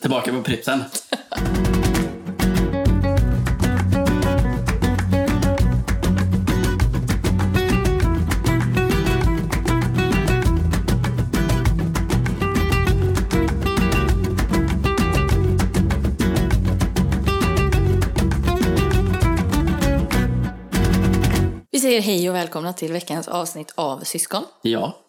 Tillbaka på pripsen. Vi säger hej och välkomna till veckans avsnitt av Syskon. Ja,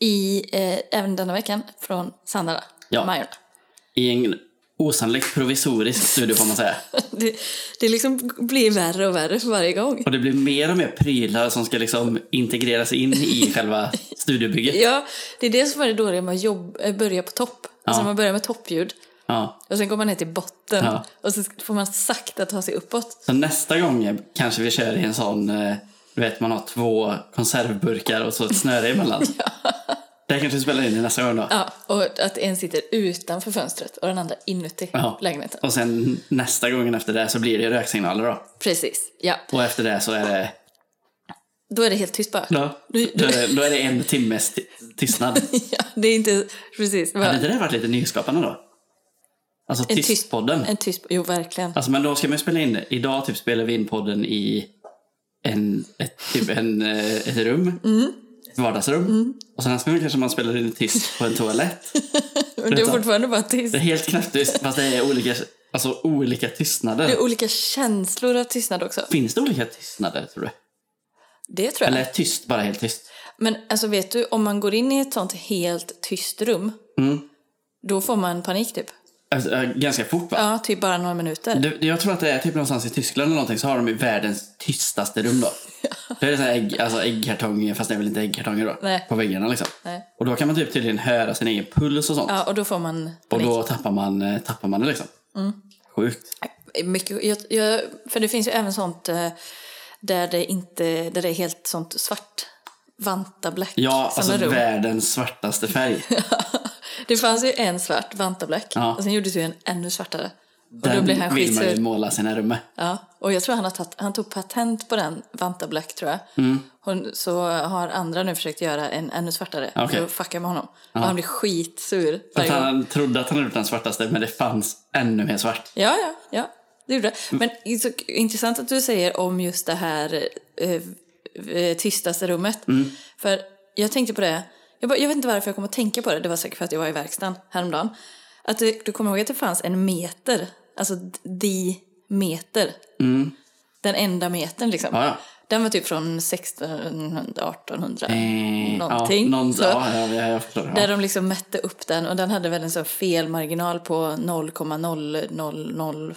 I, eh, även denna veckan från Sandra Ja. Majorna. i en osannolikt provisorisk studio får man säga. Det, det liksom blir värre och värre för varje gång. Och det blir mer och mer prylar som ska liksom integreras in i själva studiobygget. Ja, det är det som är det dåliga med att jobb, eh, börja på topp. Alltså man börjar med toppljud Ja. och sen går man ner till botten Ja. och så får man sakta ta sig uppåt. Så nästa gång kanske vi kör i en sån, eh, du vet man har två konservburkar och så ett snöre emellan. Det här kanske vi spelar in i nästa gång då. Ja, och att en sitter utanför fönstret och den andra inuti Ja. lägenheten. Och sen nästa gången efter det så blir det röksignaler då. Precis, ja. Och efter det så är det, Då är det helt tyst bara. då, Du- då, du- är det- då är det en timmes ty- tystnad. Ja, det är inte... Precis. det var Hade inte det varit lite nyskapande då? Alltså En tyst- tystpodden. En tyst... Jo, verkligen. Alltså men då ska man ju spela in, idag typ spelar vi in podden i en, ett, typ en, eh, ett rum. Ett vardagsrum. Och sen nästa gång kanske man spelar in tyst på en toalett. Men det är Berätta. fortfarande bara tyst. Det är helt knäpptyst fast det är olika, alltså, olika tystnader. Det är olika känslor av tystnad också. Finns det olika tystnader tror du? Det tror jag. Eller är tyst bara helt tyst? Men alltså vet du, om man går in i ett sånt helt tyst rum, Mm. då får man panik typ. Alltså, eh, ganska fort va? Ja, typ bara några minuter. Du, jag tror att det är typ någonstans i Tyskland eller någonting så har de ju världens tystaste rum då. Det är så här ägg, alltså äggkartonger, fast det är väl inte äggkartonger då, Nej. på väggarna liksom. Nej. Och då kan man typ tydligen höra sin egen puls och sånt. Ja, och då får man och panik. då tappar man, eh, tappar man det liksom. Mm. Sjukt. Mycket, jag, jag, för det finns ju även sånt eh, där det inte, där det är helt sånt svart. Vantablack. Ja, såna alltså rum. världens svartaste färg. Det fanns ju en svart vantablack Ja. och sen gjordes ju en ännu svartare. Och då Den blev han vill man skitsur. ju måla sina rum med. Ja, och jag tror han, har tagit, han tog patent på den, Vanta Black tror jag. Hon, så har andra nu försökt göra en ännu svartare Okej. för att fucka med honom. Och han blir skitsur. Att varje gång. han trodde att han hade gjort den svartaste, men det fanns ännu mer svart. Ja, ja, ja. Det gjorde det. Mm. Men det är så intressant att du säger om just det här eh, eh, tystaste rummet. Mm. För jag tänkte på det. Jag, bara, jag vet inte varför jag kom att tänka på det. Det var säkert för att jag var i verkstaden häromdagen. Att du, du kommer ihåg att det fanns en meter. Alltså d- di meter. Den enda metern liksom. Mm. Ja, ja. Den var typ från 1600, 1800 Eh, någonting. Ja, någon, Så- ja, ja, ja, jag förstår. där Ja. de liksom mätte upp den och den hade väl en sån felmarginal på 0,000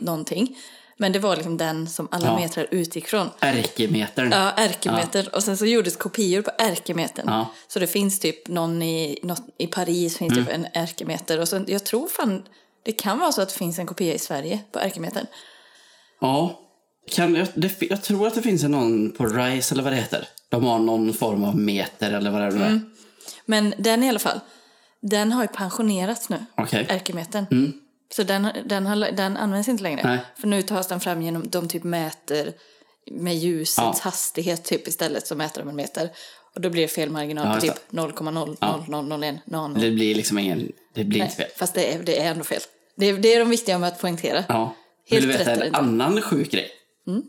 någonting. Men det var liksom den som alla Mm. Ja. metrar utgick från. Ärkemetern. Ja, ärkemeter. Och sen så gjordes kopior på ärkemetern. Ja. Så det finns typ någon i, något, i Paris finns Mm. typ en ärkemeter. Och så, jag tror fan, det kan vara så att det finns en kopia i Sverige på ärkemetern. Ja. Kan, jag, det, jag tror att det finns en någon på RISE eller vad det heter. De har någon form av meter eller vad det nu är. Mm. Men den i alla fall, den har ju pensionerats nu. Okej. Mm. ärkemetern. Så den, den, har, den används inte längre. Nej. För nu tas den fram genom, de typ mäter med ljusets Ja. hastighet typ istället så mäter de en meter. Och då blir det fel marginal Ja, på just typ 0,00001 nano. Det blir liksom ingen... Det blir inte fel. Fast det är, det är ändå fel. Det är, det är de viktiga med att poängtera. Ja. Helt Vill du rätt veta är det en inte. annan sjuk grej?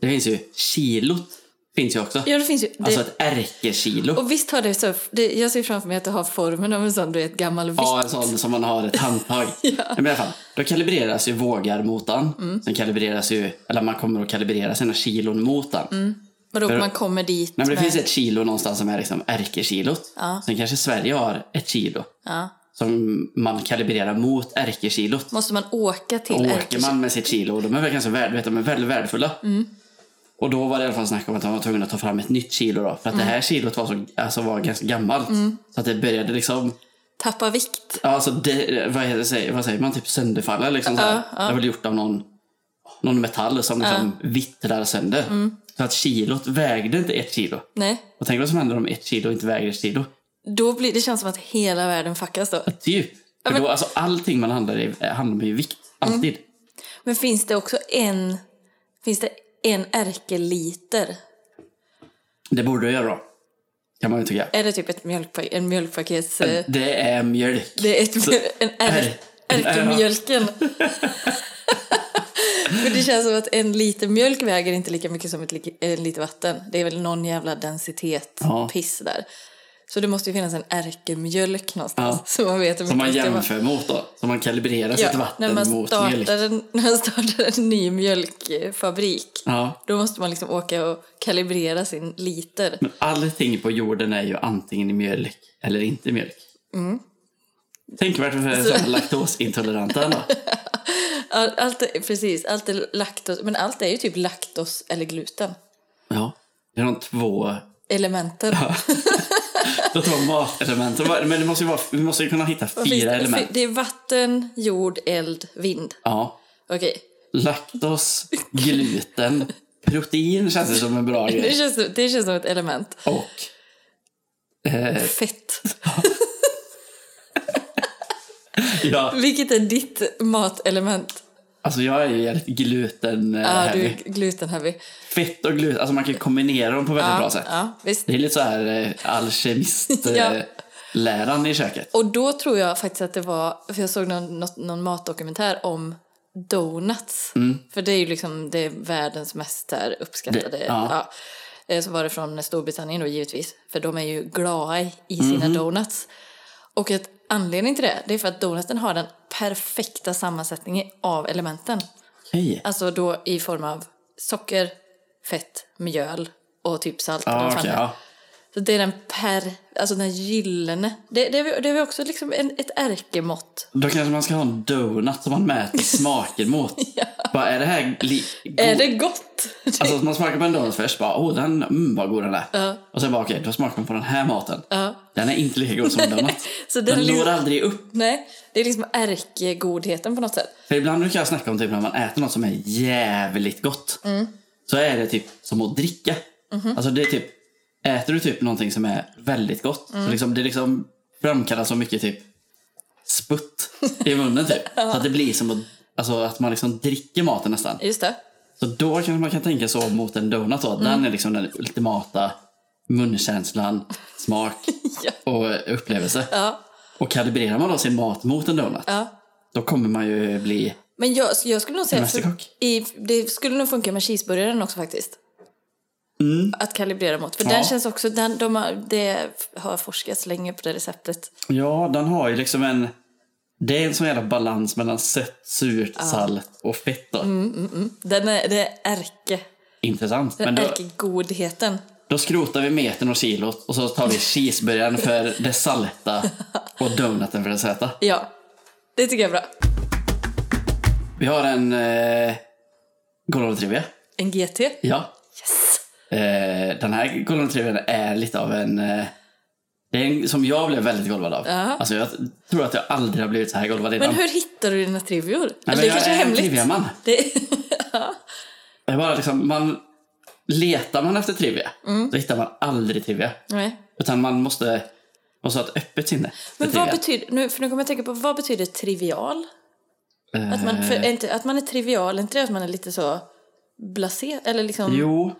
Det finns ju kilot. Finns ju också. Ja, det finns ju. Det, Alltså ett ärkekilo. och visst har det så, det, jag ser framför mig att det har formen av en sån, du vet, gammal vitt. Ja, en sån som man har ett handtag. Men i alla fall, då kalibreras ju vågar mot den. Mm. Sen kalibreras ju, eller man kommer att kalibrera sina kilon mot den. Mm, Vadå, man kommer dit Nej, men det med- finns ett kilo någonstans som är liksom ärkekilot. Sen kanske Sverige har ett kilo som man kalibrerar mot ärkekilot. Måste man åka till Och åker ärkekilot? Mm. man med sitt kilo, och de är väl ganska värd, vet, de är väldigt värdefulla. Och då var det i alla fall snack om att de var tvungna att ta fram ett nytt kilo då. För att Mm. det här kilot var, så, alltså var ganska gammalt. Så att det började liksom, Tappa vikt? ja, alltså det, vad, heter, säger- vad säger man, typ sönderfalla liksom. Så här. Det var gjort av någon, någon metall som liksom vittrar sönder. Mm. Så att kilot vägde inte ett kilo. Nej. Och tänk vad som händer om ett kilo inte väger ett kilo. Då blir, det känns som att hela världen fuckas då. Typ. För då, alltså, allting man handlar i eh, handlar med vikt. Alltid. Mm. Men finns det också en... Finns det en ärkeliter? Det borde du göra då. kan man ju tycka. Är det typ ett mjölkpa- en mjölkpakets... eh, Det är mjölk. Det är ett, mjöl- en Ärr. ärk- ärkemjölken. För det känns som att en liter mjölk väger inte lika mycket som ett li- en liter vatten. Det är väl någon jävla densitet Ja. piss där. Så det måste ju finnas en ärkemjölk någonstans. Ja. Så man vet hur Som man mycket det var. jämför mot då. Som man kalibrerar sitt ja, när vatten man mot liksom. mjölk. startar en, När man startar en ny mjölkfabrik. Ja. Då måste man liksom åka och kalibrera sin liter. Men allting på jorden är ju antingen i mjölk eller inte i mjölk. Mm. Tänk vart för så. laktosintoleranta ändå. All- Allt, är- precis, allt är laktos, men allt är ju typ laktos eller gluten. Ja. Det är de två, Elementen. de två matelementen. Vad- Men det måste ju vara, vi måste ju kunna hitta Vad finns fyra det? element. Fy- Det är vatten, jord, eld, vind. Ja. Okej. Laktos, gluten, protein känns det som en bra Det, grej. känns, som- det känns som ett element. Och Eh. Fett. ja, Vilket är ditt matelement? alltså jag är ju jävligt gluten eh, Ja, du heavy. är gluten-heavy. Fett och gluten, alltså man kan kombinera dem på väldigt bra sätt. Ja, visst. Det är lite så här eh, alkemist eh, Ja. läran i köket. Och då tror jag faktiskt att det var, för jag såg någon, något, någon matdokumentär om donuts. Mm. För det är ju liksom det är världens mest här uppskattade. Det- ja. ja. Eh, Så var det från Storbritannien då givetvis. För de är ju glada i- i sina Mhm. donuts. Och ett anledning till det, det är för att donuten har den perfekta sammansättningen av elementen. Okej. Alltså då i form av socker, fett, mjöl och typ salt. eller Ja, vad Ah, fan okej. det är. ja. Så det är den per, alltså den gyllene. Det, det, är, väl- det är väl också liksom en, ett ärkemått. Då kanske man ska ha en donut som man mäter smaken mot. Bara, är det här li- god? Är det gott? Alltså att man smakar på en donut först, bara åh den, mm vad god den är. Och sen bara okej, då smakar man på den här maten. Den är inte lika god som en donut. Så den den är når liksom- aldrig upp. Nej, det är liksom ärkegodheten på något sätt. För ibland brukar jag snacka om typ när man äter något som är jävligt gott. Mm. Så är det typ som att dricka. Mhm. Alltså det är typ, äter du typ någonting som är väldigt gott. Mm. Så liksom, det liksom framkallar så mycket typ sputt i munnen typ. Så att det blir som att, alltså, att man liksom dricker maten nästan. Just det. Så då kanske man kan tänka så mot en donut Mm. då. Den är liksom den ultimata munkänslan, smak Ja. och upplevelse. Ja. Och kalibrerar man då sin mat mot en donut, Ja. då kommer man ju bli... Men jag, jag skulle nog säga att fun- Mästerkock. i, det skulle nog funka med cheeseburgaren också faktiskt. Att kalibrera mot. För Mm. Ja. den känns också, den, de har, det har forskats länge på det receptet. Ja, den har ju liksom en... Det är en sån jävla balans mellan sött, surt, salt och fett då. Mm. Den är, det är ärke, Intressant. Men den då, ärkegodheten. då skrotar vi metern och kilot och så tar vi cheeseburgaren för det salta och donuten för det söta. Ja, det tycker jag är bra. Vi har en eh, Golden Retriever. En GT. Ja. Yes! Eh, den här Golden Retrievern är lite av en... Eh, det är en som jag blev väldigt golvad av. Alltså, jag tror att jag aldrig har blivit så här golvad innan. Men hur hittar du dina trivior? Eller det jag kanske är är en hemligt? triviaman. Det, Det är bara liksom, man, letar man efter trivia, Mm. då hittar man aldrig trivia. nej. Utan man måste, måste ha ett öppet sinne. för Men vad trivia. betyder, nu, för nu kommer jag tänka på, vad betyder trivial? Att man, Eh. för, är inte, att man är trivial, är inte det att man är lite så blasé? Eller, liksom, Jo,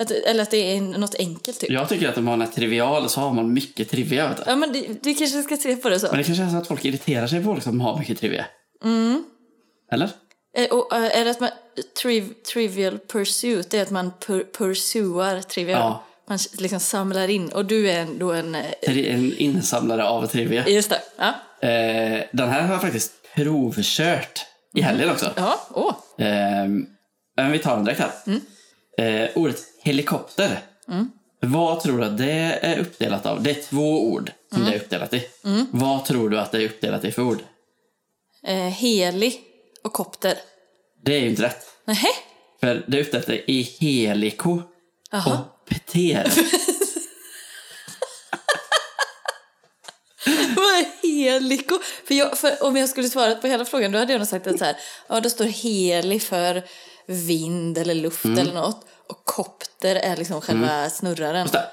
att, eller att det är en- något enkelt typ? Ja, jag tycker att om man är trivial så har man mycket trivia. Vet du. men det, du kanske ska se på det så. Men det kanske är så att folk irriterar sig på folk som har mycket trivia. Mm. Eller? Eh, och, eh, är det att man, triv, trivial pursuit, det är att man pur, pursuar trivial. Ja. Man liksom samlar in och du är en, då en... eh, Tri- En insamlare av trivia. Just det. Ja. Eh, den här har jag faktiskt provkört i helgen också. Ja, åh. Eh, men vi tar den direkt här. Mm. Eh, ordet helikopter. Vad tror du att det är uppdelat av? Det är två ord som Mm. det är uppdelat i. Vad tror du att det är uppdelat i för ord? Eh, heli och kopter. Det är ju inte rätt. Nähä? För det är uppdelat i heliko Jaha. och pter. Vad är heliko? För, jag, för om jag skulle svarat på hela frågan då hade jag nog sagt att så här, ja, då står heli för vind eller luft Mm. eller något och kopter är liksom själva snurraren. Just det.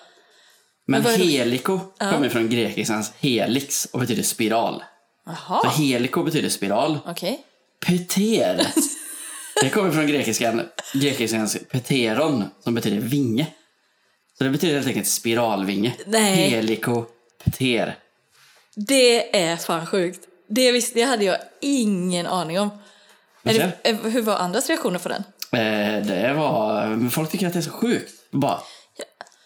Men vad är det? heliko kommer från grekiskans helix och betyder spiral. Så Jaha, heliko betyder spiral. okej. Peter. Det kommer från grekiskan, grekiskans peteron som betyder vinge. Så det betyder helt enkelt spiralvinge. Nej. Helikopter. Det är fan sjukt. Det, visste, det hade jag ingen aning om. Är ser. det, eh, hur var andras reaktioner på den? Eh, det var... Men folk tycker att det är så sjukt. Bara.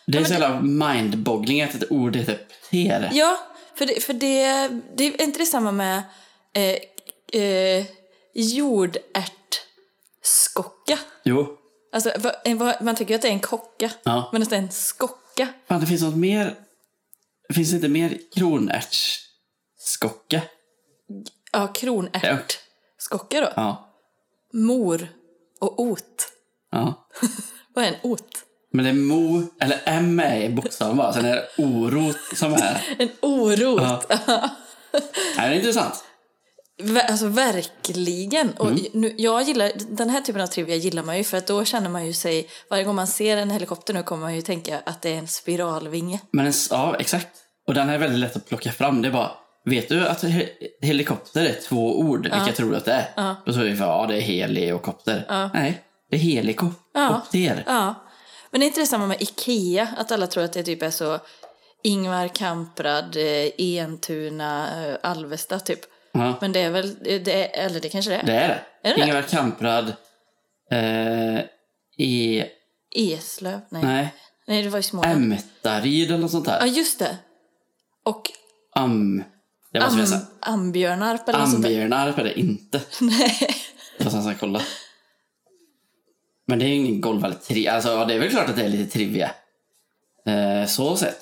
Det är så jävla mindboggling att ett ord heter ter. Ja, för det, för det, det är inte det samma med eh, eh, jordärtskocka. Jo. Alltså, vad- en- vad- man tycker ju att det är en kocka, Ja. men att det är en skocka. Fan, det finns något mer... Finns det inte mer kronärtsskocka? Ja, kronärtskocka då. Ja. Mor och ot. ja. Vad är en ot? Men det är mo... Eller m är bokstaven bara. Sen är det orot som är... En orot. Ja. Nej, det är intressant. Ver- Alltså verkligen. Och Mm. nu, jag gillar, den här typen av trivia gillar man ju för att då känner man ju sig, varje gång man ser en helikopter nu kommer man ju tänka att det är en spiralvinge. Men en, ja, exakt. Och den här är väldigt lätt att plocka fram. Det är bara, vet du att he, helikopter är två ord? Vilka tror du att det är? Då tror vi, ja det är heli och kopter. Nej, det är helikopter. Ja. Men är inte det samma med Ikea? Att alla tror att det typ är så Ingvar Kamprad, eh, Entuna, eh, Alvesta typ. Ja. Men det är väl, eh, det är, eller det kanske det är. Det är det. Är det? Ingvar Kamprad. Eh, I... Eslöv? Nej. Nej. Nej. det var ju Småland. Ämtaryd eller något sånt Ja, där. just det. Och Am... Det måste vi Am, säga. Ambjörnarp eller något sånt där. Ambjörnarp är det inte. Nej. Fast han ska kolla. Men det är ju ingen golvhall tri- Alltså ja, det är väl klart att det är lite trivia. Eh, så sett.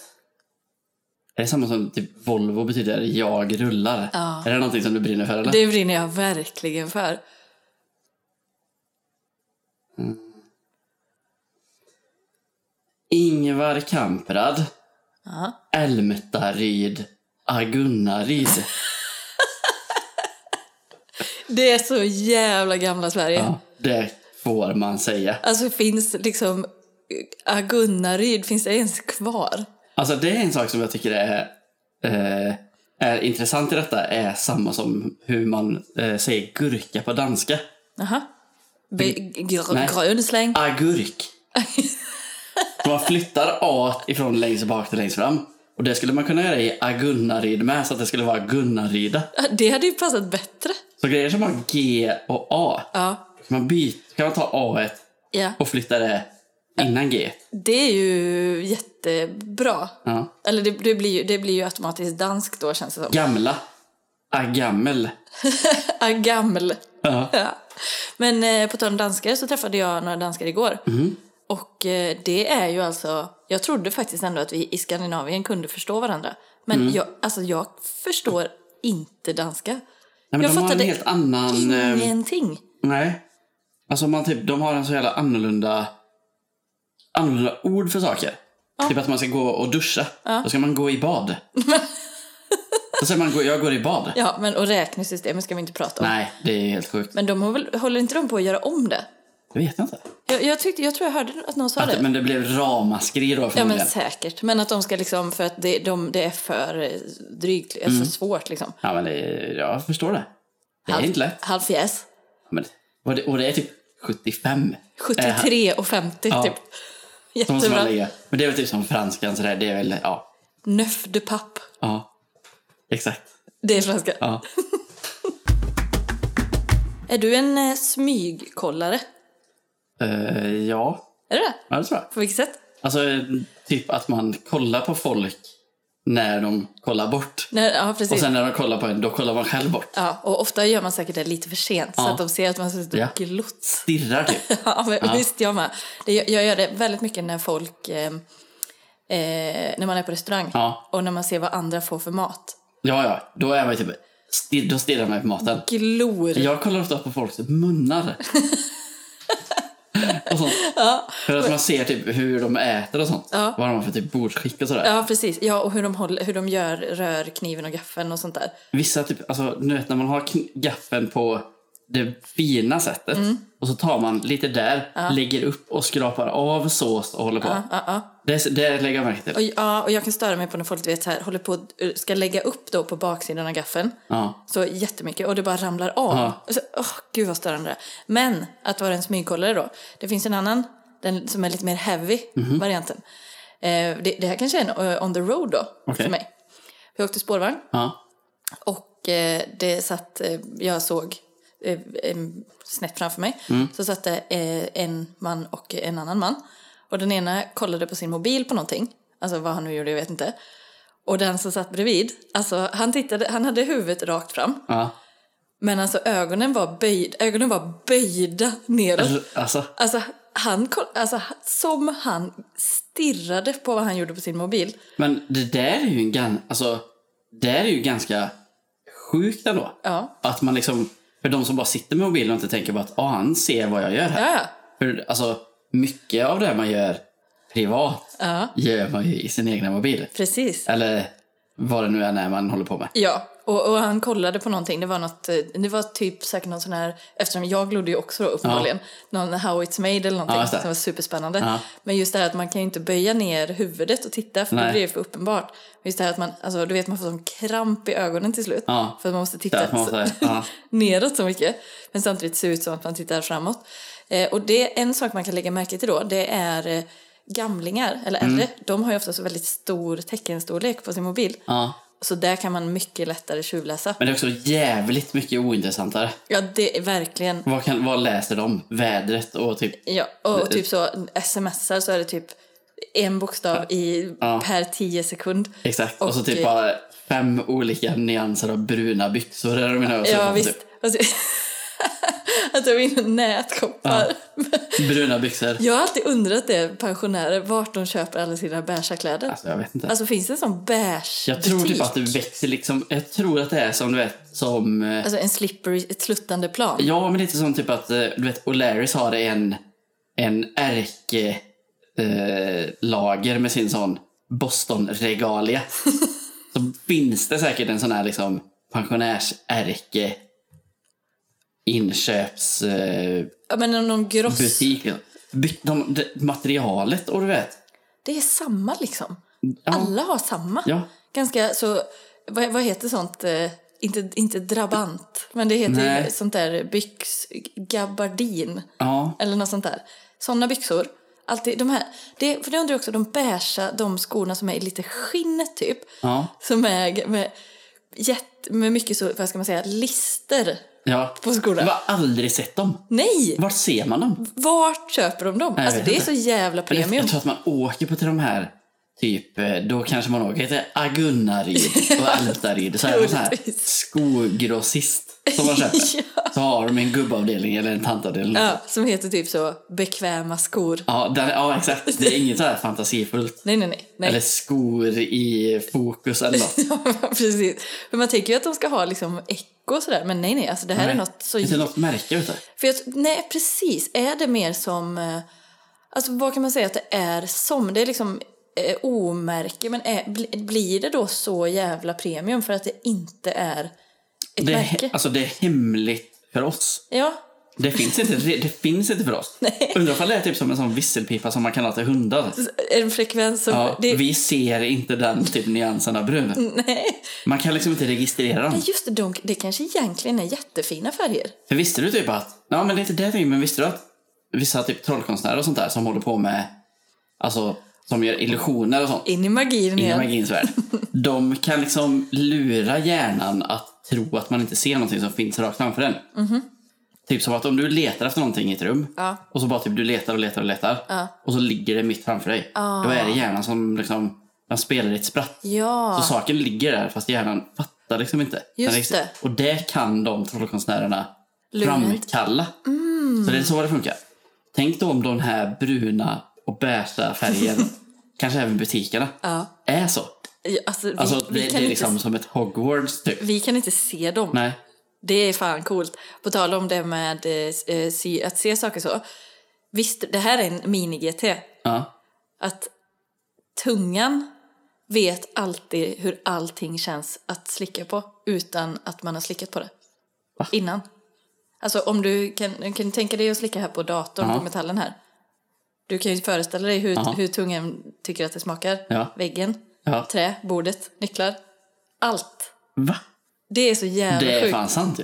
Är det samma som typ Volvo betyder jag rullar? Ja. Är det någonting som du brinner för eller? Det brinner jag verkligen för. Ingvar Kamprad. Ja. Älmtaryd. Agunnaryd. Det är så jävla gamla Sverige. ja, det får man säga. Alltså finns liksom eh, Gunnaryd, finns det ens kvar? Alltså det är en sak som jag tycker är, eh, är intressant i detta. Är samma som hur man eh, säger gurka på danska. Jaha. Be- gr- Nej. Grön släng. agurk. man flyttar A ifrån längst bak till längst fram. Och det skulle man kunna göra i Agunnaryd med, så att det skulle vara Gunnarida. Det hade ju passat bättre. Så grejer som har G och A, Ja. kan man, byta, kan man ta A ja. och flytta det innan G. Det är ju jättebra. Ja. Eller det, det, blir ju, det blir ju automatiskt danskt då känns det som. Gamla. Agammel. Ah, Gammal. Ja. Ja. Men eh, på tal om danskar så träffade jag några danskar igår. Mhm. Och eh, det är ju alltså, jag trodde faktiskt ändå att vi i Skandinavien kunde förstå varandra. Men Mm. jag, alltså jag förstår inte danska. Nej, men jag de har en fattade helt annan... eh, ingenting. Nej. Alltså man typ, de har en så jävla annorlunda, annorlunda ord för saker. Typ att man ska gå och duscha. Då ska man gå i bad. Då säger man, gå- jag går i bad. Ja, men och räknesystemet ska vi inte prata om. Nej, det är helt sjukt. Men de har väl, håller inte de på att göra om det? Det vet jag inte. Jag, jag, tyckte, jag tror jag hörde att någon sa det. Men det blev ramaskri då Alltså- Ja förmodligen. men säkert. Men att de ska liksom, för att det, de, det är för eh, drygt, alltså svårt liksom. Ja, men det, jag förstår det. Mm. Det är inte lätt. Halv fjäs. Men, och, det, och det är typ Eh, 75. 73 och 50 Ja. typ. Så måste man Jättebra. lägga. Men det är väl typ som franskan sådär. Det är väl, ja. Neuf de papp. Ja. Exakt. Det är franska. Ja. Är du en eh, smygkollare? Eh, ja. Är du det? ja, det tror jag. På vilket sätt? Alltså typ att man kollar på folk när de kollar bort. Nej, ja, precis. Och sen när de kollar på en, då kollar man själv bort. ja, och ofta gör man säkert det lite för sent så Ja. att de ser att man sitter och Ja. glott. Stirrar typ. Ja, men visst, jag med. Det, jag, jag gör det väldigt mycket när folk... Eh, eh, när man är på restaurang Ja. och när man ser vad andra får för mat. Ja, ja. Då är man ju typ... Stir, då stirrar man på maten. Glor. Jag kollar ofta på folks munnar. och sånt. För att man ser typ hur de äter och sånt. Ja. Vad de har för typ bordsskick och sådär. Ja, precis. Ja, och hur de, håller, hur de gör, rör kniven och gaffeln och sånt där. Vissa typ, alltså nu vet när man har kn- gaffeln på det fina sättet. Mm. Och så tar man lite där, lägger upp och skrapar av sås och håller på. Ja, ja. Det, det lägger jag märke till. Och, ja, och jag kan störa mig på när folk du vet, så här, håller på och eh, ska lägga upp då på baksidan av gaffeln. Ja. Så jättemycket och det bara ramlar av. Ja. Och Så, åh, gud vad störande det är. Men Mhm. att vara en smygkollare då. Det finns en annan, den som är lite mer heavy varianten. Eh, det, det här kanske är en eh, on the road då, Okej. för mig. Jag åkte spårvagn Ja. och eh, det satt, eh, jag såg eh, em, snett framför mig, så satt det eh, en man och en annan man. Och den ena kollade på sin mobil på någonting, alltså vad han nu gjorde, jag vet inte. Och den som satt bredvid, alltså han tittade, han hade huvudet rakt fram. ja. Men alltså ögonen var, böjd, ögonen var böjda neråt. Alltså, Alltså, han, koll- alltså, som han stirrade på vad han gjorde på sin mobil. men det där är ju en gan, alltså, det där är ju ganska sjukt ändå. Ja, Att man liksom, för de som bara sitter med mobilen och inte tänker på att ah, han ser vad jag gör här. ja, ja. För alltså, mycket av det man gör privat ja gör man ju i sin egna mobil. precis. Eller vad det nu är när man håller på med. Ja, och, och han kollade på någonting. Det var, något, eh, det var typ säkert någon sån här, eftersom jag glodde ju också då uppenbarligen, någon How It's Made eller någonting Ja, just det. som var superspännande. Ja. Men just det här att man kan ju inte böja ner huvudet och titta för det Nej. blir ju för uppenbart. Men Just det här att man, alltså du vet man får sån kramp i ögonen till slut. Ja. För att man måste titta. Där, man måste, så- ja. neråt så mycket. Men samtidigt ser det ut som att man tittar framåt. Eh, och det, en sak man kan lägga märke till då, det är eh, gamlingar, eller Mm. äldre, de har ju ofta så väldigt stor teckenstorlek på sin mobil. Ja. Så där kan man mycket lättare tjuvläsa. Men det är också jävligt mycket ointressantare. Ja, det är verkligen. Vad, kan, vad läser de? Vädret och typ... Ja, och typ så smsar så är det typ en bokstav i, Ja. per tio sekund. Exakt. Och, så Och, typ eh, bara fem olika nyanser av bruna byxor. Är det mina ögon. Ja, Typ visst. Och så- Att de vinner nätkoppar. typ Bruna byxor. Jag har alltid undrat det, pensionärer, vart de köper alla sina beiga kläder. Alltså, jag vet inte. Alltså finns det en sån beige jag tror butik? typ att det växer liksom... Jag tror att det är som du vet, som... eh, Alltså en slippery, ett sluttande plan. Ja, men lite som typ att eh, du vet, O'Larrys har en, en ärke eh, lager med sin sån Boston-regalia. så finns det säkert en sån här liksom pensionärsärke inköpsbutik. Ja, men någon gross. liksom. By- eh, de, de, materialet och du vet. Det är samma liksom. Ja. Alla har samma. Ja. Ganska så, vad, vad heter sånt? eh, Inte, inte drabant, men det heter ju Nej. sånt där byx, gabardin Ja, eller något sånt där. Såna byxor. Alltid de här, det, för det undrar jag också, de beiga, de skorna som är i lite skinn typ. ja, Som är g- med, jätte, med mycket så, vad ska man säga, lister ja. på skorna. Jag har aldrig sett dem. Nej! Vart ser man dem? Vart köper de dem? jag alltså vet det är inte. så jävla Men jag, premium. jag tror att man åker på till de här, typ, eh, då kanske man åker till Agunnaryd och Ältaryd. Så är det en sån här Troligtvis. skogrossist som man köper. Så har de en gubbavdelning eller en tantavdelning. Ja. Ja, som heter typ så, bekväma skor. Ja, den, ja, exakt. Det är inget så här fantasifullt. Nej, nej, nej. nej. Eller skor i fokus eller något. Precis. För man tänker ju att de ska ha liksom eko och sådär, men nej, nej, alltså det här är något så... Inte något märke ute. För jag, nej, precis. Är det mer som... eh, Alltså vad kan man säga att det är som? Det är liksom eh, omärke, men är, bli- blir det då så jävla premium för att det inte är ett Det är, he- märke? alltså, det är hemligt för oss. Ja, Det finns inte, det, det finns inte för oss. Undrar ifall det är typ som en sån visselpipa som man kan ha till hundar. en frekvens som... Ja, det, Vi ser inte den typ nyansen av brun. Nej, Man kan liksom inte registrera dem. men just det, de, det kanske egentligen är jättefina färger. För visste du typ att... Ja, men det är inte det jag tänker, men visste du att vissa typ trollkonstnärer och sånt där som håller på med... Alltså, som gör illusioner och sånt In i magin inom igen. magins värld. De kan liksom lura hjärnan att tro att man inte ser någonting som finns rakt framför en. Typ som att om du letar efter någonting i ett rum Mhm. Ja. och så bara typ du letar och letar och letar och så ligger det mitt framför dig. Ah. Då är det hjärnan som liksom... Den spelar i ett spratt. Ja, Så saken ligger där fast hjärnan fattar liksom inte. Den Just liksom- det. Och det kan de trollkonstnärerna Lurigt. framkalla. Mm. Så det är så det funkar. Tänk då om de här bruna och beiga färgen, kanske även butikerna, Ja. är så. alltså, vi, Alltså vi, det, kan det är inte, liksom som ett Hogwarts typ. vi kan inte se dem. Nej. Det är fan coolt. På tal om det med eh, eh, sy- att se saker så. Visst, det här är en mini-GT. Ja. Att tungan vet alltid hur allting känns att slicka på utan att man har slickat på det. Innan. Alltså om du kan, kan du tänka dig att slicka här på datorn, Ja. på metallen här. Du kan ju föreställa dig hur, Ja. hur tungan tycker att det smakar. Ja. Väggen, ja. trä, bordet, nycklar. Allt. Va? Det är så jävla Det är sjukt. fan sant ju.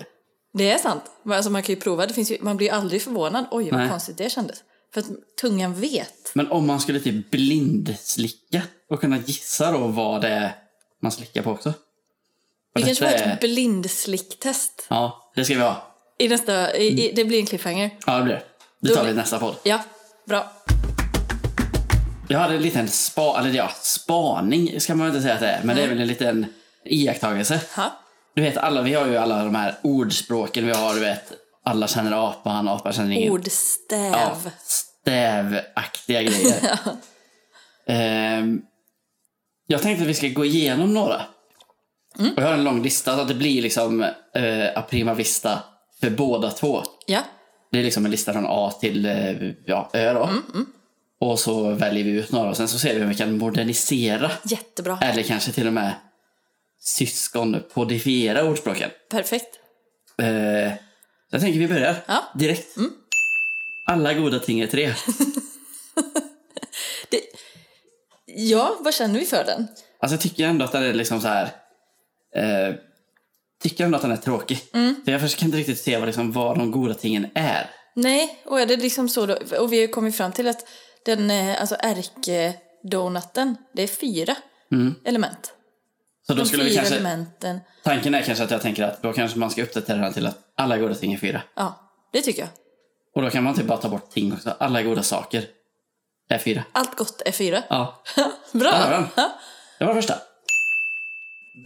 Det är sant. Men Alltså man kan ju prova. Det finns ju, man blir ju aldrig förvånad. Oj, vad Nej. Alltså, konstigt det kändes. För att tungan vet. Men om man skulle typ blindslicka och kunna gissa då vad det är man slickar på också. Vi Och kanske detta får är- ett blindslicktest. Ja, det ska vi ha. I nästa, i, i, Mm. det blir en cliffhanger. Ja, det blir det. Det Då- tar vi i nästa podd. Ja, bra. Jag hade en liten spa, eller ja, spaning ska man väl inte säga att det är, men det är väl en liten iakttagelse. Ha. Du vet, alla, vi har ju alla de här ordspråken vi har, du vet, alla känner apan, apan känner ingen. Ja, Ordstäv. stävaktiga grejer. Ehm, jag tänkte att vi ska gå igenom några. Och jag har en lång lista så att det blir liksom eh, a prima vista för båda två. Ja. Det är liksom en lista från A till eh, ja, Ö då. Mm, Och så väljer vi ut några och sen så ser vi om vi kan modernisera jättebra. eller kanske till och med syskonpodifiera ordspråken. Perfekt. Eh, jag tänker vi börjar Ja. Mm. direkt. Alla goda ting är tre. Alltså, Ja, vad känner vi för den? Alltså jag tycker ändå att den är liksom så här... Eh, tycker ändå att den är tråkig. Mm. För jag försöker inte riktigt se vad, liksom, vad de goda tingen är. Nej, och är det liksom så då? Och vi har ju kommit fram till att den, eh, alltså ärkedonaten, det är fyra element. Så Mm. då De skulle fyra vi kanske, elementen. tanken är kanske att jag tänker att då kanske man ska uppdatera den till att alla goda ting är fyra. Ja, det tycker jag. Och då kan man typ bara ta bort ting också. Alla goda saker är fyra. Allt gott är fyra. Ja, Bra! där har vi den. Ja. Det var det första.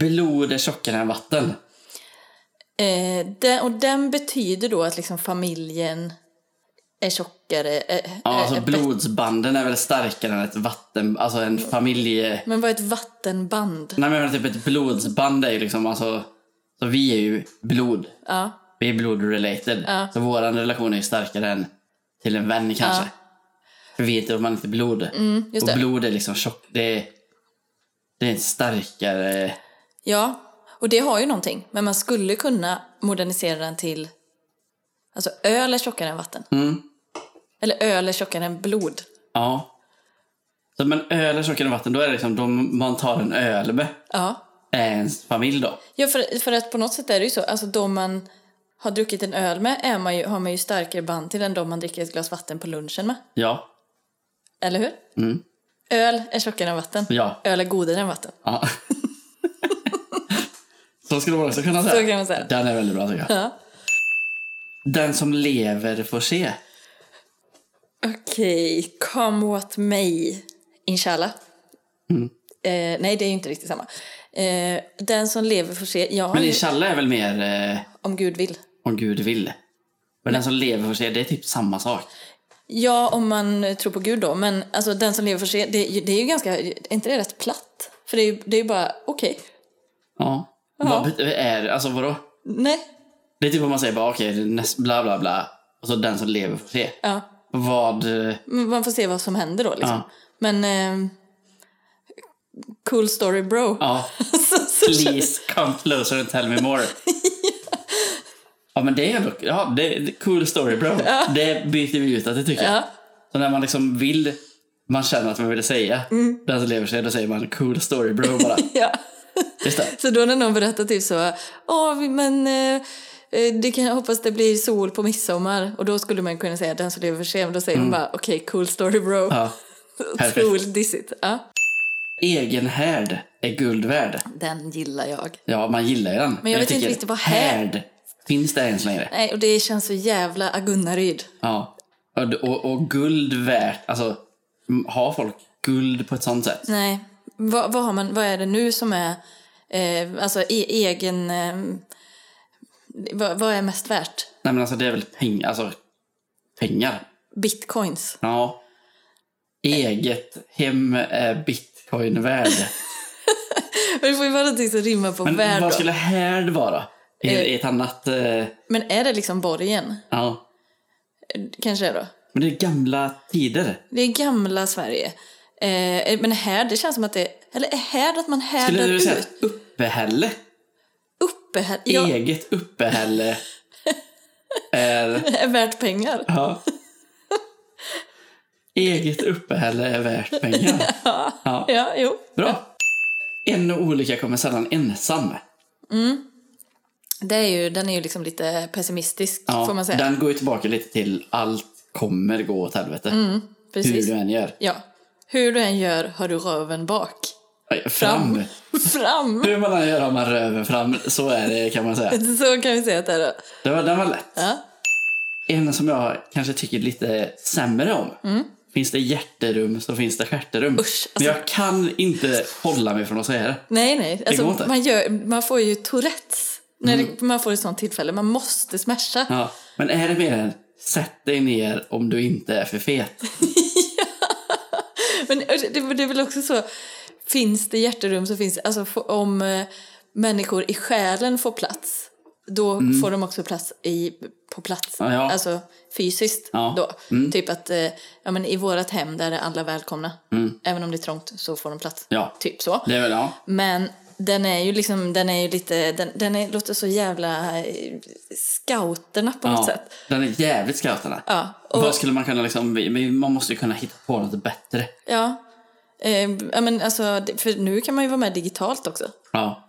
Blod är tjockare än vatten. Eh, den, och den betyder då att liksom familjen är tjockare. Eh, Ja, eh, alltså eh, blodsbanden är väl starkare än ett vatten... Alltså en familje... Men vad är ett vattenband? Nej men typ ett blodsband är ju liksom alltså... Så vi är ju blod. Ja, Vi är blod-related. Så vår relation är ju starkare än till en vän kanske. För vi är inte, man är inte blod. Mm, just och det. blod är liksom tjockt. Det, är- det är en starkare... ja. Och det har ju någonting. Men man skulle kunna modernisera den till... Alltså öl är tjockare än vatten. Mm. Eller öl är tjockare än blod. Ja. Så, men öl är tjockare än vatten. Då är det liksom de man tar en öl med. Ja. Är ens familj då. Ja, för, för att på något sätt är det ju så. Alltså de man har druckit en öl med är man ju, har man ju starkare band till än de man dricker ett glas vatten på lunchen med. Ja. Eller hur? Öl är tjockare än vatten. Mm. Ja. Öl är godare än vatten. ja. Så skulle man också kunna säga. Så kan man säga. Den är väldigt bra tycker jag. Ja. Den som lever får se. Okej, come what may, inshallah. Mm. Eh, nej, det är ju inte riktigt samma. Eh, den som lever får se, ja, Men inshallah är väl mer eh, om Gud vill. om Gud vill. Men den som lever får se, det är typ samma sak. Ja, om man tror på Gud då, men alltså den som lever får se, det, är ju- det är ju ganska, är inte det rätt platt? För det är ju, det är ju bara, okej, Ja. Vad bet- är Alltså vadå? nej, Det är typ om man säger bara okej, näst- bla bla bla. Och så den som lever får se. ja, Vad... eh, men man får se vad som händer då liksom. Ja. Men, eh, cool story bro. Ja. Please come closer and tell me more. Ja men det är ändå, ja det är cool story bro. Det byter vi ut att det tycker jag. Ja. Så när man liksom vill, man känner att man vill säga Mm. den som lever sig, då säger man cool story bro bara. ja. Just det. Så då när någon berättar typ så, ja vi- men eh, eh, det kan, jag hoppas det blir sol på midsommar. Och då skulle man kunna säga den som lever för sig, men då säger hon bara okej cool story bro. Mm. Ja. perfekt. Otroligt dissigt. Ja, Egen härd är guld värd. den gillar jag. Ja, man gillar ju den. Men jag vet tycker, inte riktigt vad härd- Finns det ens längre? Nej, och det känns så jävla Agunnaryd. Ja. Och, och, och guld värt, alltså m- har folk guld på ett sånt sätt? Nej, vad, vad, har man, vad är det nu som är eh, alltså e- egen... Eh, vad, vad är mest värt? Nej men alltså det är väl pengar, alltså pengar. Bitcoins. Ja. Eget hem är bitcoin värd. Men Det får ju vara någonting som rimmar på Men värd. vad då. skulle härd vara? I, i ett annat... Eh, Men är det liksom borgen? ja. Kanske det då? Men det är gamla tider. Det är gamla Sverige. Eh, men här, det känns som att det... Eller är här att man Skulle härdar du ut? säga E. uppehälle? Uppe här, ja, Eget uppehälle är... är värt pengar. Ja. Eget uppehälle är värt pengar. Ja. Ja, jo. Bra. En olycka kommer sällan ensam. Det är ju, den är ju liksom lite pessimistisk, Ja, får man säga. Den går ju tillbaka lite till allt kommer gå åt helvete. Hur Mm, Precis. du än gör. Ja. Hur du än gör har du röven bak. Aj, Fram! Fram! Hur man än gör har man röven fram. Så är det kan man säga. Så kan vi säga att det är. då. Den var, den var lätt. Ja. En som jag kanske tycker lite sämre om. Finns det hjärterum så finns det stjärterum. Mm. Usch, alltså. Men jag kan inte hålla mig från att säga det. Nej, nej. Alltså, går inte. Mm. man, gör, man får ju Tourettes när det, man får ett sånt tillfälle. Man måste smasha. Ja. Men är det mer än sätt dig ner om du inte är för fet? Men eh, det, det är väl också så, finns det hjärterum så finns alltså få- om eh, människor i själen får plats, då får de också plats i, på plats, Mm. Ja, ja. alltså fysiskt Ja. Mm. då. Typ att eh, ja, men i vårt hem där är alla välkomna, även om det är trångt så får de plats. Mm. Ja. Typ så. Det är väl ja. Men den är ju liksom, den är ju lite, den, den är, låter så jävla eh, scouterna på något ja. sätt. Den är jävligt scouterna. Ja, och- Vad skulle man kunna liksom, vi- vi- man måste ju kunna hitta på något bättre. Ja. Eh, ja, men alltså, det- för nu kan man ju vara med digitalt också. Ja.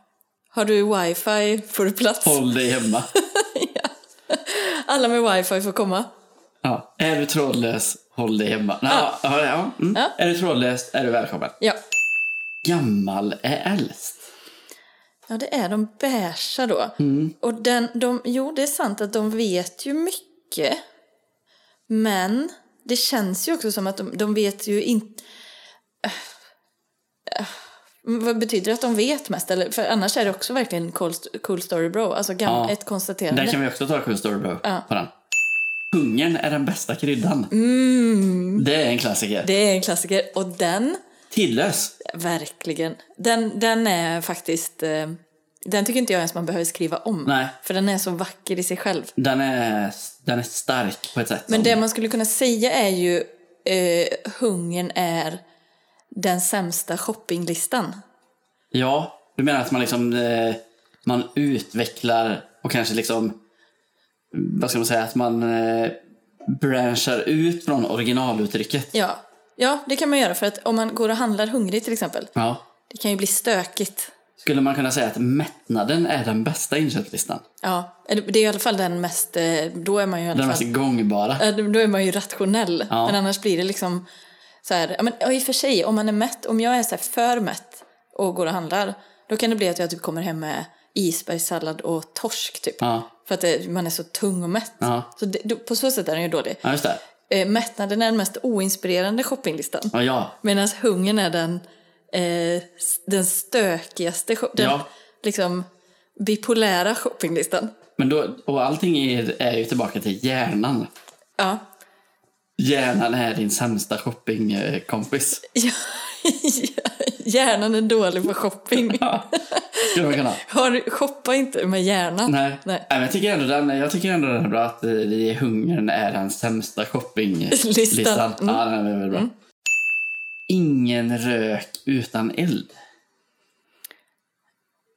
Har du wifi får du plats. Håll dig hemma. Alla med wifi får komma. Ja. Är du trådlös, håll dig hemma. Ja. Ja, ja. Mm. Ja. Är du trådlös, är du välkommen. Ja, Gammal är äldst. ja det är de beiga då. Mm. Och den, de, jo, det är sant att de vet ju mycket. Men det känns ju också som att de, de vet ju inte... Vad betyder det att de vet mest? Eller, för annars är det också verkligen cool, cool story bro. Alltså gam, Ja. ett konstaterande. Där kan vi också ta Cool Story Bro Ja. på den. Hungern är den bästa kryddan. Det är en klassiker. Mm. Det är en klassiker. Och den... Tillös. Verkligen. Den, den är faktiskt... Eh, den tycker inte jag ens man behöver skriva om. Nej. För den är så vacker i sig själv. Den är, den är stark på ett sätt. Men som- det man skulle kunna säga är ju eh, hungern är den sämsta shoppinglistan. Ja, du menar att man liksom eh, man utvecklar och kanske liksom vad ska man säga, att man eh, branchar ut från originaluttrycket. Ja. ja, det kan man göra för att om man går och handlar hungrig till exempel, Ja. det kan ju bli stökigt. Skulle man kunna säga att mättnaden är den bästa inköpslistan? Ja, eller det är i alla fall den mest, eh, då är man ju i alla Den fall mest gångbara? Ja, Äh, då är man ju rationell. Ja. Men annars blir det liksom så här, ja, men, ja, i och för sig, om man är mätt, om jag är så här för mätt och går och handlar, då kan det bli att jag typ kommer hem med isbergssallad och torsk typ. Ja. För att det, man är så tung och mätt. Ja. Så det, då, på så sätt är den ju dålig. Ja, just det. Eh, mättnaden är den mest oinspirerande shoppinglistan. Ja, ja. Medan hungern är den, eh, s- den stökigaste, shop- den Ja. liksom bipolära shoppinglistan. Men då, och allting är, är ju tillbaka till hjärnan. Ja, Hjärnan är din sämsta shoppingkompis. hjärnan är dålig på shopping. Skulle man kunna. Har, shoppa inte med hjärnan. Nej. Nej. men jag, tycker ändå den, jag tycker ändå den är bra att eh, det är hungern är den sämsta shoppinglistan. Listan. Mm. Ja, den är väldigt bra. Ingen rök utan eld.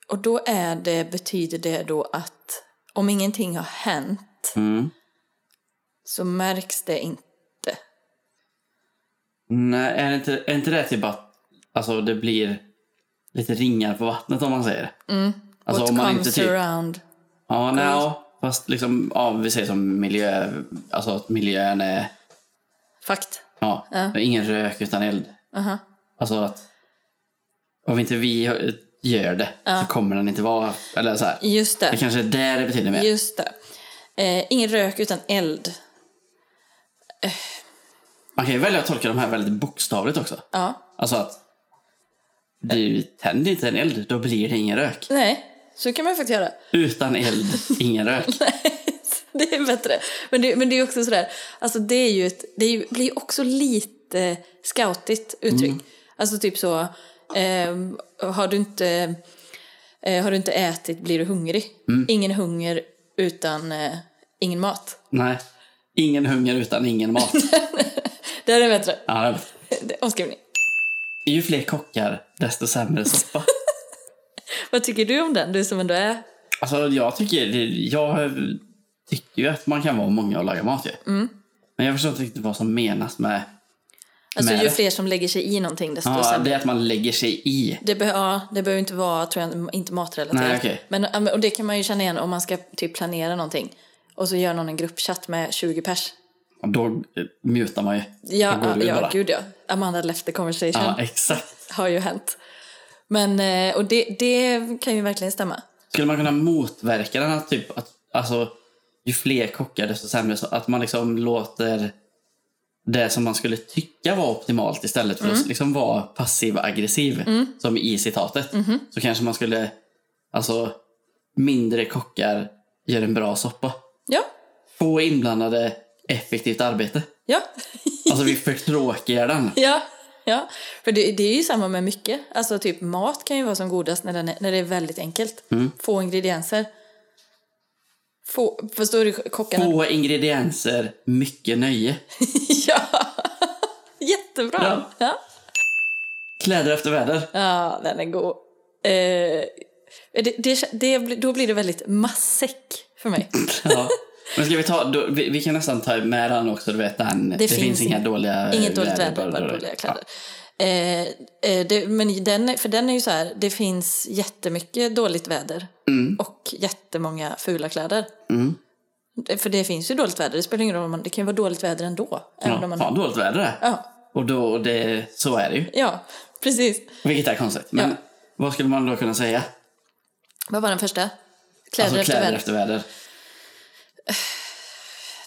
Och då är det, betyder det då att om ingenting har hänt Mm. så märks det inte. Nej, är, det inte, är inte det typ att alltså, det blir lite ringar på vattnet om man säger det? Alltså, Mm. What om man comes inte typ, around. Ja, nej, ja, fast liksom, ja, vi säger som miljö, alltså att miljön är, Fakt. ja, det är ingen rök utan eld. Aha. Alltså att om inte vi gör det så kommer den inte vara, eller så här. Just Det det. kanske är där det betyder mer. Just det. Eh, ingen rök utan eld. Man kan ju välja att tolka de här väldigt bokstavligt också. Ja. Alltså att du tänder inte en eld, då blir det ingen rök. Nej, så kan man faktiskt göra. Utan eld, ingen rök. det är bättre. Men det, men det är också sådär, alltså det, är ju ett, det är ju, blir ju också lite scoutigt uttryck. Mm. Alltså typ så, ehm, har, du inte, eh, har du inte ätit blir du hungrig. Mm. Ingen hunger utan eh, ingen mat. Nej. Ingen hunger utan ingen mat. Det här är bättre. Ja, det är bra. Det- Omskrivning. ju fler kockar, desto sämre soppa. Vad tycker du om den, du som ändå är... Alltså jag tycker, det- jag tycker ju att man kan vara många och laga mat ju. Mm. Men jag förstår inte riktigt vad som menas med, Alltså med ju det. fler som lägger sig i någonting desto Ja, sämre. det är att man lägger sig i. Det, be- ja, det behöver inte vara tror jag, inte matrelaterat. Nej, okej. Men ja, men- och det kan man ju känna igen om man ska typ planera någonting. Och så gör någon en gruppchatt med 20 pers. då eh, mutar man ju. Ja, Då går ja, du ja bara. gud ja. Amanda left the conversation. Ja, exakt. Har ju hänt. Men, eh, och det, det kan ju verkligen stämma. Skulle man kunna motverka den här typ att alltså, ju fler kockar desto sämre? Så att man liksom låter det som man skulle tycka var optimalt istället för att liksom vara passiv-aggressiv som i citatet. Så kanske man skulle, alltså mindre kockar gör en bra soppa. Ja, Få inblandade, effektivt arbete. ja, Alltså vi förtråkigar den. ja. ja. För det, det är ju samma med mycket. Alltså typ mat kan ju vara som godast när, den är, när det är väldigt enkelt. Mm. Få ingredienser. Få, förstår du kockarna? Få ingredienser, mycket nöje. Ja! Jättebra! Ja. Ja. ja. Kläder efter väder. den är god. Eh, det, det, det, blir- då blir det väldigt massäck för mig. Ja. Men ska vi ta, då, vi, vi kan nästan ta med den också, du vet den. Det, finns, finns inga inget- dåliga eh, Inget dåligt väder, bara bara dåliga. dåliga kläder. Eh, eh, det, men den, är- för den är ju så här, det finns jättemycket dåligt väder Mm. och jättemånga fula kläder. Eh, För det finns ju dåligt väder, det spelar ingen roll, om man, det kan ju vara dåligt väder ändå. Ja, Även om man, fan, dåligt väder det. ja, Och då, och det, så är det ju. ja, precis. Vilket är konstigt. Men Ja. vad skulle man då kunna säga? Vad var den första? Kläder alltså efter kläder väder. efter väder.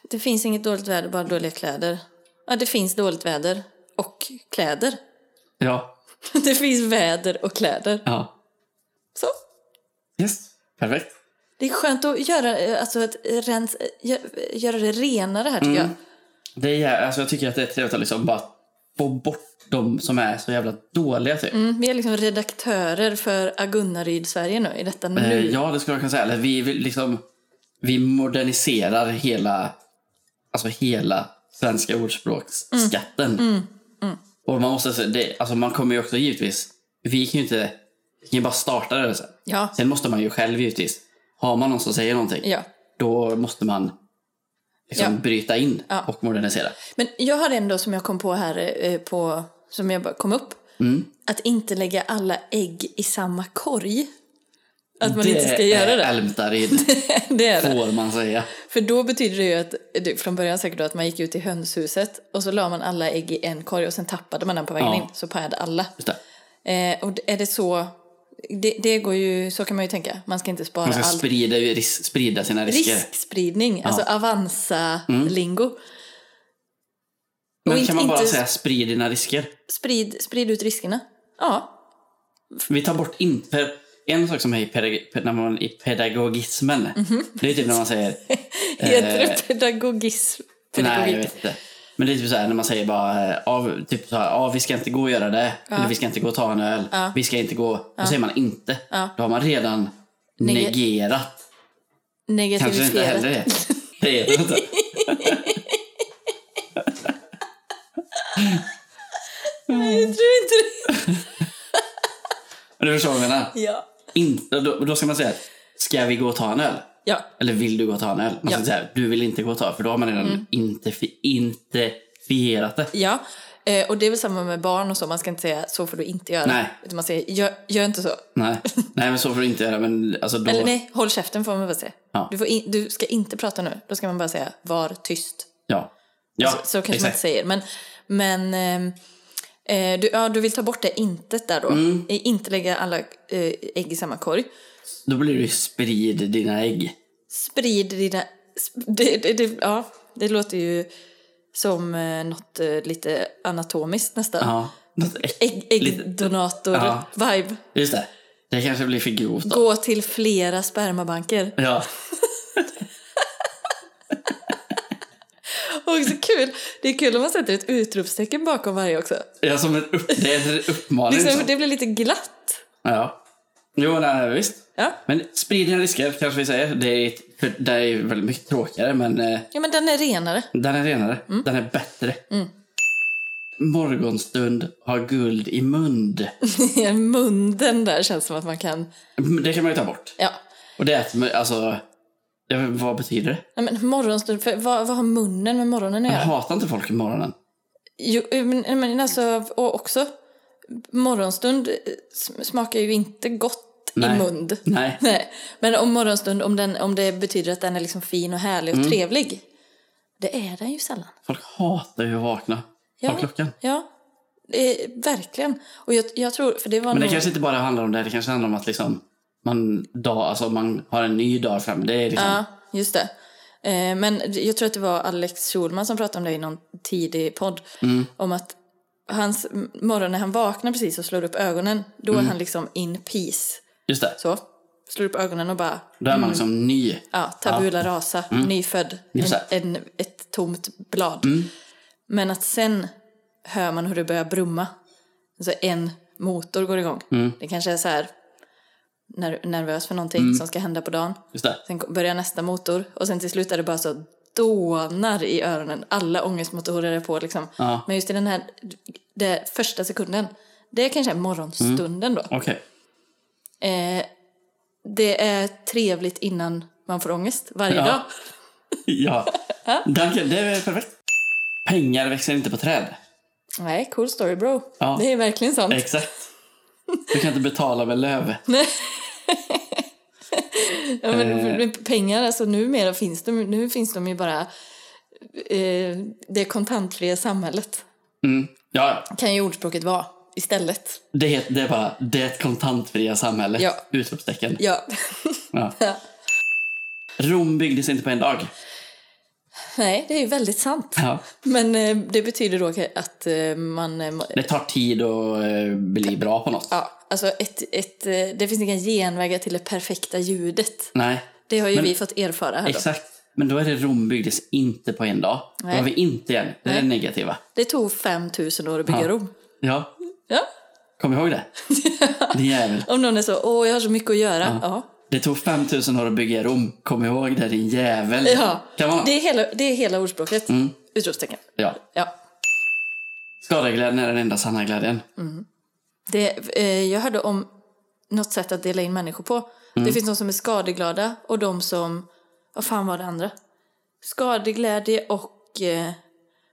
Det finns inget dåligt väder, bara dåliga kläder. Ja, det finns dåligt väder och kläder. Ja. Det finns väder och kläder. ja. Så. Yes. Perfekt. Det är skönt att göra, eh, alltså, att rens, eh, gö- göra det renare här tycker jag. Det är, alltså, jag tycker att det är trevligt att liksom bara få bort de som är så jävla dåliga typ. Mm, vi är liksom redaktörer för Agunnaryd Sverige nu, i detta nu. Eh, Ja, det skulle jag kunna säga. Eller vi, vill liksom, vi moderniserar hela, alltså hela svenska ordspråksskatten. Mm, Och man måste, se- det, alltså man kommer ju också givetvis, vi kan ju inte, vi kan ju bara starta det sen. Ja. Sen måste man ju själv givetvis, har man någon som säger någonting, ja. då måste man liksom Ja. bryta in Ja. och modernisera. Men jag har en då som jag kom på här, eh, på, som jag bara kom upp. Att inte lägga alla ägg i samma korg. Att man inte ska göra är det. Älmtaryd, det är det. får man säga. För då betyder det ju att, det- från början säkert då, att man gick ut i hönshuset och så la man alla ägg i en korg och sen tappade man den på vägen Ja. in, så pajade alla. Just det. Eh, och är det så, det, det går ju, så kan man ju tänka, man ska inte spara Man ska allt. sprida, ris, sprida sina risker. Riskspridning, alltså Avanza-lingo. Men kan Och inte- man bara inte- säga sprid dina risker? Sprid, sprid ut riskerna. Ja, Vi tar bort in, för en sak som är i, pedag, när man, i pedagogismen. Mhm. Det är typ när man säger... heter det pedagogism? Eh. nej, jag Pedagogik. vet inte. Men det är typ så här när man säger bara eh, av, typ så här, ah, vi ska inte gå och göra det. Eller vi ska inte gå och ta en öl. Vi ska inte gå. Då säger man inte. Då har man redan Nege- negerat. Kanske inte Negativiserat. heller det. Det heter det inte. Nej, jag tror inte det. Men du förstår vad jag menar. Ja. Inte- då, då ska man säga, ska vi gå och ta en öl? ja, Eller vill du gå och ta en öl? Man ska Ja. Mm. säga, du vill inte gå och ta för då har man redan interfi- interfierat det. Ja, eh, och det är väl samma med barn och så. Man ska inte säga så får du inte göra. Nej. Utan man säger gör, gör inte så. Nej. nej, men så får du inte göra. Men alltså då... Eller nej, håll käften får man väl säga. Ja. Du, får in, du ska inte prata nu. Då ska man bara säga var tyst. Ja, ja så, så kanske man inte exakt. säger. Men, men ehm, eh, du, ja, du vill ta bort det intet där då. Mm. Eh, Inte lägga alla eh, ägg i samma korg. Då blir det ju sprid dina ägg. Sprid dina... sp- Det, det, det, ja, det låter ju som eh, något eh, lite anatomiskt nästan. Ja. Något ägg. Ägg, Ja. äggdonator-vibe. Just det. Det kanske blir för grovt då. Gå till flera spermabanker. Ja. Och så kul! Det är kul om man sätter ett utropstecken bakom varje också. ja, som en upp... Det är en uppmaning. Liksom, så. det blir lite glatt. Ja. Jo, nej, visst. Ja. Men sprid dina risker kanske vi säger. Det är, för det är ju väldigt mycket tråkigare men eh, ja, men den är renare. den är renare. Mm. Den är bättre. Morgonstund har guld i mund. Munden där känns som att man kan... Det kan man ju ta bort. Ja. Och det är att, men, alltså, det- vad betyder det? Nej, men morgonstund, för vad, vad har munnen med morgonen att Jag göra? hatar inte folk i morgonen. Jo, eh, men, men alltså, och också, morgonstund eh, sm- smakar ju inte gott Nej. i mund. Nej. Mm. Nej, men om morgonstund, om, den, om det betyder att den är liksom fin och härlig och trevlig. Det är den ju sällan. Folk hatar ju att vakna Ja. av klockan. Ja, eh, verkligen. Och jag, jag tror, för det var Men det nog... kanske inte bara handlar om det. Det kanske handlar om att liksom man, dag, alltså man har en ny dag fram. Det är liksom, Ja, just det. Eh, Men jag tror att det var Alex Schulman som pratade om det i någon tidig podd. Mm. Om att hans m- morgon när han vaknar precis och slår upp ögonen, då Mm. är han liksom in peace. just det. Så, slår upp ögonen och bara, Då är man liksom ny. Mm. ja, tabula rasa, nyfödd, Mm. Just en, det. Mm. en, ett tomt blad. Men att sen hör man hur det börjar brumma. Alltså en motor går igång. Mm. Det kanske är så här, ner- nervös för någonting Mm. som ska hända på dagen. Just det. Sen kom- börjar nästa motor och sen till slut är det bara så dånar i öronen. Alla ångestmotorer är på liksom. Ja. Men just i den här det första sekunden, det kanske är morgonstunden då. Okej. Mm. Eh, det är trevligt innan man får ångest varje Ja. dag. Ja. Danke, det är perfekt. Pengar växer inte på träd. Nej, cool story bro. Ja. Det är verkligen sant. Exakt. Du kan inte betala med löv. Ja, Eh. men, men pengar, alltså numera finns de, nu finns de ju bara... Eh, det kontantfria samhället Mm. Ja, ja. kan ju ordspråket vara istället. det, heter, det är bara det kontantfria samhället. Ja. Utropstecken. Ja. Ja. Ja. Rom byggdes inte på en dag. Nej, det är ju väldigt sant. Ja. Men eh, det betyder då att eh, man... eh, må- Det tar tid att eh, bli bra på något. Ja, alltså ett, ett, eh, det finns inga genvägar till det perfekta ljudet. Nej, Det har ju Men- vi fått erfara här då. exakt. Men då är det Rom byggdes inte på en dag. Då Nej. har vi inte igen. Det är Nej. det negativa. Det tog 5000 år att bygga Ja. Rom. Ja, Ja. kom ihåg det. Din jävel. Om någon är så, åh jag har så mycket att göra. Ja. Det tog 5000 år att bygga Rom. Kom ihåg det, din jävel. Ja. Kan Mm. man... Det, är hela, det är hela ordspråket. Utropstecken. ja. Ja. Skadeglädjen är den enda sanna glädjen. Mm. Det, eh, jag hörde om något sätt att dela in människor på. Mm. Det finns de som är skadeglada och de som... Vad fan var det andra? Skadeglädje och eh,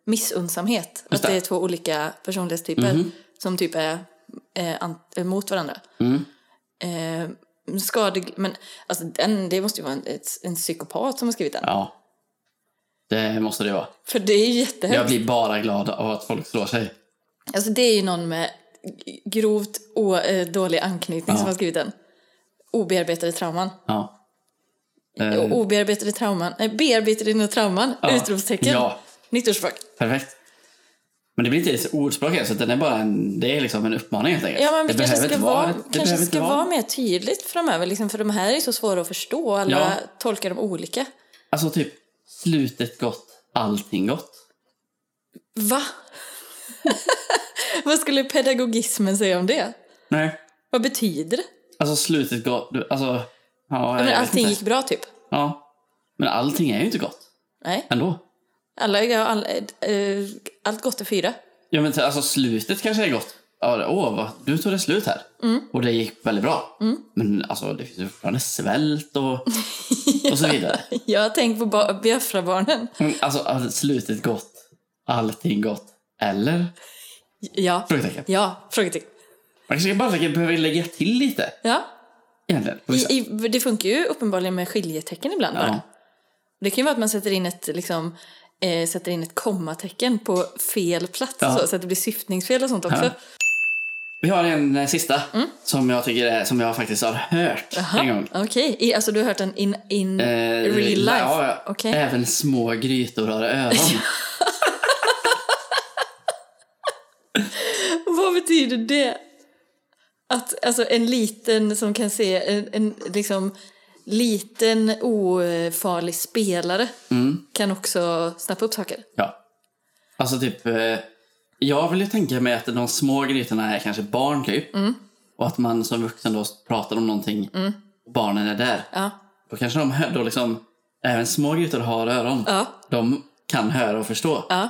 missunnsamhet. Att det. Mhm. det är två olika personlighetstyper som typ är eh, ant- eh, mot varandra. Mm. Eh, skadeg- men alltså, den, det måste ju vara en, ett, en psykopat som har skrivit den. Ja. Det måste det vara. För det är ju jättehemskt. Jag blir bara glad av att folk slår sig. Alltså det är ju någon med grovt o- eh, dålig anknytning som har skrivit den. Obearbetade trauman. Ja. Eh, Och obearbetade trauman. Nej, bearbetade dina trauman. Ja. Utropstecken. Ja. Nytt ordspråk. Perfekt. Men det blir inte ens ordspråk ens, utan det är bara en, det är liksom en uppmaning helt enkelt. Ja, men vi det kanske behöver ska, inte vara, det kanske behöver inte ska vara mer tydligt framöver. Liksom, för de här är ju så svåra att förstå. och Alla Ja. tolkar dem olika. Alltså typ, slutet gott, allting gott. Va? Vad skulle pedagogismen säga om det? Nej. Vad betyder det? Alltså slutet gott, du- alltså... Ja, jag Men vet allting inte. gick bra typ. Ja. Men allting är ju inte gott Nej. ändå. Alla, all, eh, allt gott är fyra. Ja, men alltså slutet kanske är gott. Ja, det- Åh, vad, nu tog det slut här. Mm. Och det gick väldigt bra. Men alltså, det finns ju fortfarande svält och, och så vidare. Jag har tänkt på ba- Biafra-barnen. Mm, Alltså, all- slutet gott, allting gott. Eller? Ja. Frågetecken. Ja, frågetecken. Man kanske bara behöver lägga till lite. Ja. Egentligen. på vissa- I, i, det funkar ju uppenbarligen med skiljetecken ibland bara. Ja. Det kan ju vara att man sätter in ett, liksom, eh, sätter in ett kommatecken på fel plats Ja. så, så att det blir syftningsfel och sånt också. Ja. Vi har en eh, sista Mm. som jag tycker är, som jag faktiskt har hört en gång. Okej, I- alltså du har hört den in, in Eh, real life? Ja, Eh. ja. Okej. Även små grytor har öron. Vad betyder det? Att alltså, en liten som kan se en, en liksom liten ofarlig spelare Mm. kan också snappa upp saker. ja. Alltså typ, eh, jag vill ju tänka mig att de små grytorna är kanske barn typ. Mm. Och att man som vuxen då pratar om någonting och barnen är där. Ja. Då kanske de hör, då liksom, även små grytor har öron. Ja. De kan höra och förstå. Ja.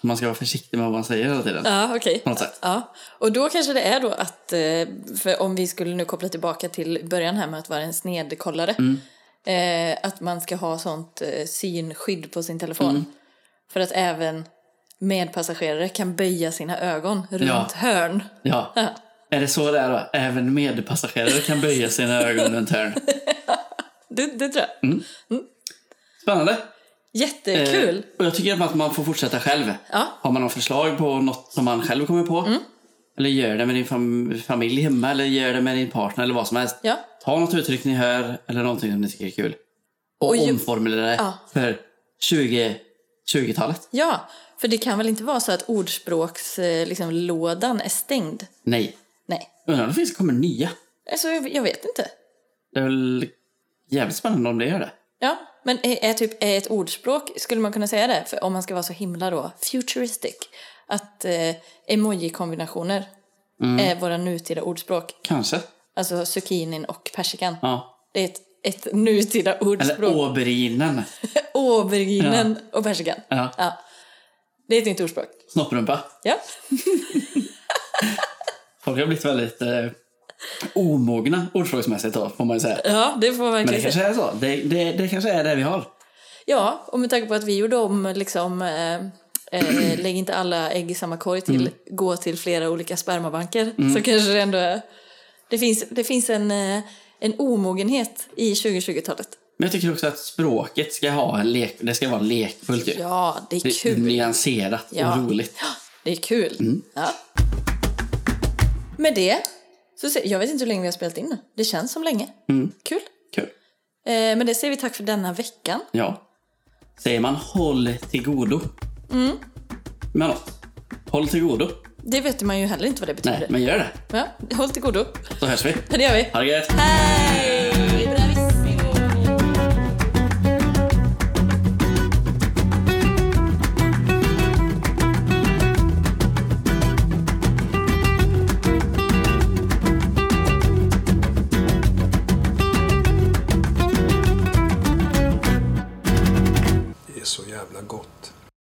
Man ska vara försiktig med vad man säger hela tiden. Ja, okej. något sätt. Ja. Och då kanske det är då att, eh, för om vi skulle nu koppla tillbaka till början här med att vara en snedkollare, Mm. eh, att man ska ha sånt eh, synskydd på sin telefon. Mm. För att även medpassagerare kan böja sina ögon runt Ja. hörn. Ja. Är det så det är då? Även medpassagerare kan böja sina ögon runt hörn. Mm. Det, det tror jag. Spännande. Eh, Jättekul! Och jag tycker att man får fortsätta själv. Ja. Mm. Har man några förslag på något som man själv kommer på. Eller gör det med din fam- familj hemma eller gör det med din partner eller vad som helst. Ja. Ta något uttryck ni hör eller någonting som ni tycker är kul. Och, Och ju- omformulera det Ja. för 20, 20-talet. Ja, för det kan väl inte vara så att ordspråkslådan liksom, lådan är stängd? Nej. Nej. Undrar om det finns, kommer nya. Alltså, jag, jag vet inte. Det är väl jävligt spännande om det gör det. Ja, men är, är typ är ett ordspråk, skulle man kunna säga det? För om man ska vara så himla då futuristic. Att eh, emoji-kombinationer Mm. är våra nutida ordspråk. Kanske. Alltså zucchinin och persikan. Ja. Det är ett, ett nutida Eller ordspråk. auberginen. Auberginen och persikan. Ja. Ja. Det är ett nytt ordspråk. Snopprumpa. Ja. Folk har blivit väldigt eh, omogna ordspråksmässigt då, får man ju säga. ja, det får man Men det verkligen säga. kanske är så. Det, det, det kanske är det vi har. Ja, och med tanke på att vi gjorde om liksom, eh, eh, lägg inte alla ägg i samma korg till Mm. gå till flera olika spermabanker så kanske det ändå är, det finns, det finns en, eh, en omogenhet i 2020-talet. Men jag tycker också att språket ska ha en lek, det ska vara lekfullt ju. Ja, det är Det- det är kul. Nyanserat Ja. och roligt. Mm. Det är kul. Ja. Med det, så se, jag vet inte hur länge vi har spelat in nu. Det känns som länge. Mm. Kul. Kul. Eh, men det säger vi tack för denna veckan. Ja. Säger man håll till godo Mm. med något? Håll till godo? Det vet man ju heller inte vad det betyder. Nej, men gör det. Ja, håll till godo. Så hörs vi. Det gör vi. Ha det gött. Hej!